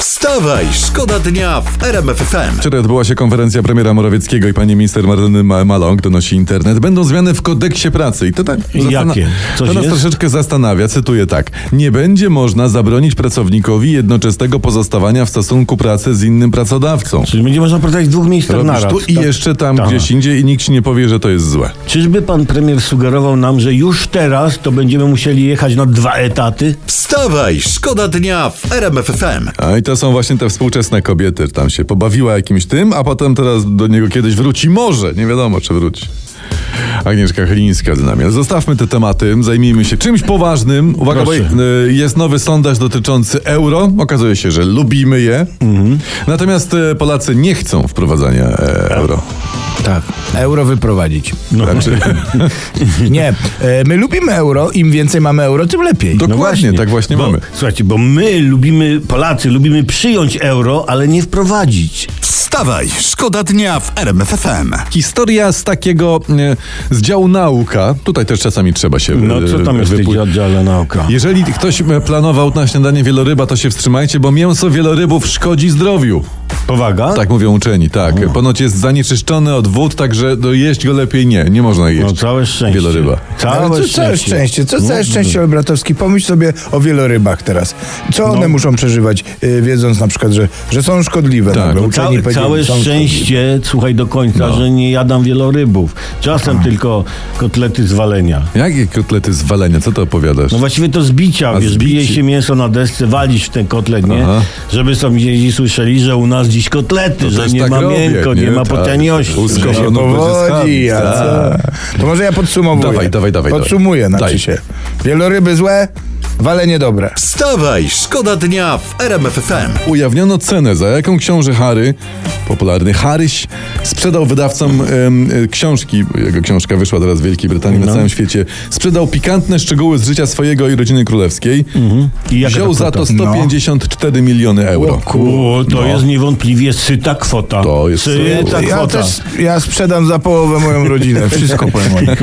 Wstawaj, szkoda dnia w RMF FM. Wczoraj odbyła się konferencja premiera Morawieckiego i pani minister Marleny Ma- Maląg donosi internet. Będą zmiany w kodeksie pracy. I to tak Jakie? to Coś nas jest? troszeczkę zastanawia. Cytuję tak. Nie będzie można zabronić pracownikowi jednoczesnego pozostawania w stosunku pracy z innym pracodawcą. Czyli będzie można pracować w dwóch miejscach Robisz naraz. tu i tak? jeszcze tam Tak. gdzieś indziej i nikt ci nie powie, że to jest złe. Czyżby pan premier sugerował nam, że już teraz to będziemy musieli jechać na dwa etaty? Wstawaj, szkoda dnia w RMF FM. A i to są właśnie te współczesne kobiety. Tam się pobawiła jakimś tym, a potem teraz do niego kiedyś wróci. Może, nie wiadomo czy wróci. Agnieszka Chylińska z nami. Ale Zostawmy te tematy, zajmijmy się czymś poważnym. Uwaga, bo Proszę. y, jest nowy sondaż dotyczący euro. Okazuje się, że lubimy je. Mhm. Natomiast y, Polacy nie chcą wprowadzania e, euro. No Tak, euro wyprowadzić. Znaczy, Nie, e, my lubimy euro, im więcej mamy euro, tym lepiej. No dokładnie, właśnie. tak właśnie Bo, mamy. słuchajcie, bo my lubimy, Polacy lubimy przyjąć euro, ale nie wprowadzić. Wstawaj, szkoda dnia w RMF FM. Historia z takiego, e, z działu nauka. Tutaj też czasami trzeba się No e, co tam jest w wypu- tej oddziale nauka? Jeżeli ktoś e, planował na śniadanie wieloryba, to się wstrzymajcie, bo mięso wielorybów szkodzi zdrowiu. Powaga? Tak mówią uczeni, tak. Mm. Ponoć jest zanieczyszczony od wód, także do jeść go lepiej nie. Nie można jeść. No całe szczęście. Wieloryba. Całe Ale co szczęście. No, całe szczęście, co całe szczęście, Olbratowski, pomyśl sobie o wielorybach teraz. Co one muszą przeżywać, y, wiedząc na przykład, że, że są szkodliwe. Tak. No Dobra, uczeni Całe, powiedzieli, całe są szkodliwe. szczęście, słuchaj do końca, że nie jadam wielorybów. Czasem tylko kotlety z walenia. Jakie kotlety z walenia? Co to opowiadasz? No właściwie to zbicia, A, wiesz, zbici. bije się mięso na desce, walisz w ten kotlet, nie? Aha. Żeby sąsiedzi słyszeli, że u nas dziś kotlety, że też nie tak ma robię, miękko, nie, nie? ma Tak. potianiości. Usko- że- Ono będzie Powodzi, schabić, a co? To może ja podsumowuję. no, Dawaj, dawaj, dawaj, Podsumuję, dawaj. Daj. znaczy się. Wieloryby złe, walenie dobre. Wstawaj, szkoda dnia w RMF FM. Ujawniono cenę, za jaką książę Harry, popularny Haryś, sprzedał wydawcom em, e, książki, bo jego książka wyszła teraz w Wielkiej Brytanii, No. na całym świecie, sprzedał pikantne szczegóły z życia swojego i rodziny królewskiej. Mhm. I jaka Wziął to za kwota? to 154 miliony euro. O, to jest niewątpliwie syta kwota. No. To jest syta syta. Ja kwota. też, ja sprzedam za połowę moją rodzinę. Wszystko powiem o nich.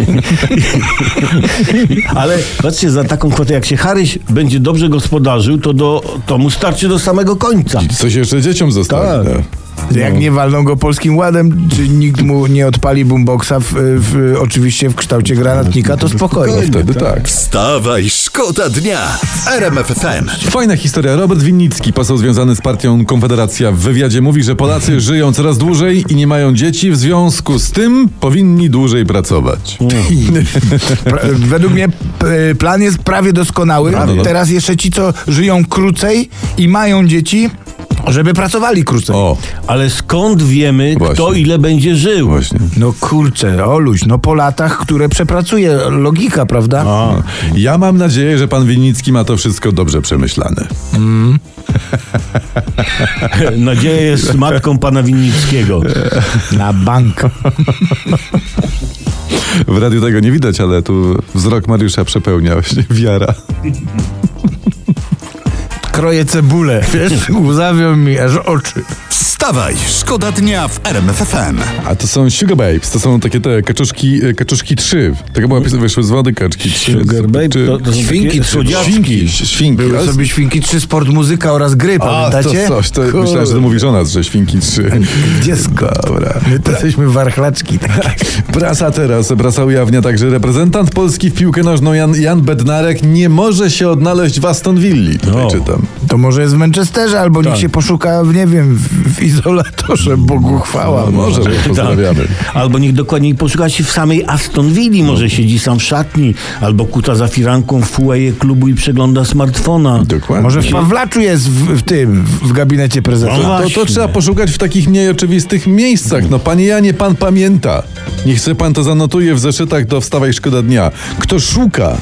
Ale patrzcie, za taką kwotę, jak się Haryś będzie dobrze gospodarzył, to, do, to mu starczy do samego końca. Coś jeszcze dzieciom no. zostało. Tak. Jak nie walną go polskim ładem, czy nikt mu nie odpali boomboxa, w, w, oczywiście w kształcie granatnika, to spokojnie. Wtedy tak. Wstawaj, szkoda dnia w RMF FM. Fajna historia. Robert Winnicki, poseł związany z partią Konfederacja w wywiadzie mówi, że Polacy żyją coraz dłużej i nie mają dzieci, w związku z tym powinni dłużej pracować. Pra, według mnie p- y, plan jest prawie doskonały. no, no. Teraz jeszcze ci, co żyją krócej i mają dzieci, żeby pracowali krócej. O, Ale skąd wiemy, kto Właśnie. ile będzie żył? właśnie. No kurczę, Oluś, no po latach, które przepracuje, logika, prawda? A. No. Ja mam nadzieję, że pan Winnicki ma to wszystko dobrze przemyślane. Nadzieja jest matką pana Winnickiego. Na bank. W radiu tego nie widać, ale tu wzrok Mariusza przepełnia właśnie wiara. Kroję cebulę, wiesz? Łzawią mi aż oczy. Wstawaj, szkoda dnia w RMF FM. A to są Sugar Babes, to są takie te kaczuszki, e, kaczuszki 3. Taka była piosenka, wyszły z wody kaczki 3. to, to są Świnki takie czy- słodziaki. Świnki, świnki. Były ale- sobie świnki trzy sport muzyka oraz gry, A, pamiętacie? To coś, to Kurde. myślałem, że to mówisz o nas, że świnki 3. Dziecko. Dobra. My to jesteśmy warchlaczki takie. Prasa teraz, prasa ujawnia także reprezentant Polski w piłkę nożną Jan, Jan Bednarek nie może się odnaleźć w Aston Villi. Tutaj No. czytam. To może jest w Manchesterze, albo niech Tak. się poszuka, w- nie wiem, w, w izolatorze, Bogu chwała. No, może, bo pozdrawiamy. Albo niech dokładniej poszuka się w samej Aston Villa, może siedzi sam w szatni, albo kuta za firanką w fueje klubu i przegląda smartfona. Dokładnie. Może w Pawlaczu jest w, w tym, w gabinecie prezesa. No. to, to właśnie. trzeba poszukać w takich mniej oczywistych miejscach. No panie Janie, pan pamięta. Niech sobie pan to zanotuje w zeszytach do Wstawaj Szkoda Dnia. Kto szuka,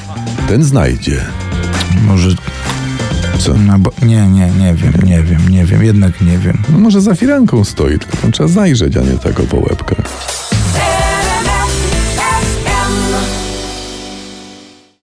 ten znajdzie. Może... no. Co? No bo, nie, nie, nie wiem, nie wiem, nie wiem, jednak nie wiem. No może za firanką stoi, tylko tam trzeba zajrzeć, a nie tak o po łebkach.